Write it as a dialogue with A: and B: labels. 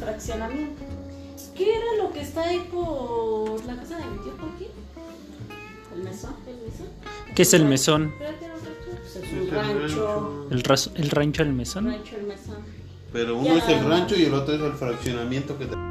A: fraccionamiento. ¿Qué era lo que está ahí por la casa de mi tío Joaquín?
B: El mesón.
A: ¿El mesón?
C: ¿Qué es el mesón?
A: ¿Era que era un rancho?
B: Pues es un rancho.
C: ¿El, ras- el rancho del mesón?
B: Rancho el mesón.
D: Pero uno
A: Ya.
D: es el rancho y el otro es el fraccionamiento que te-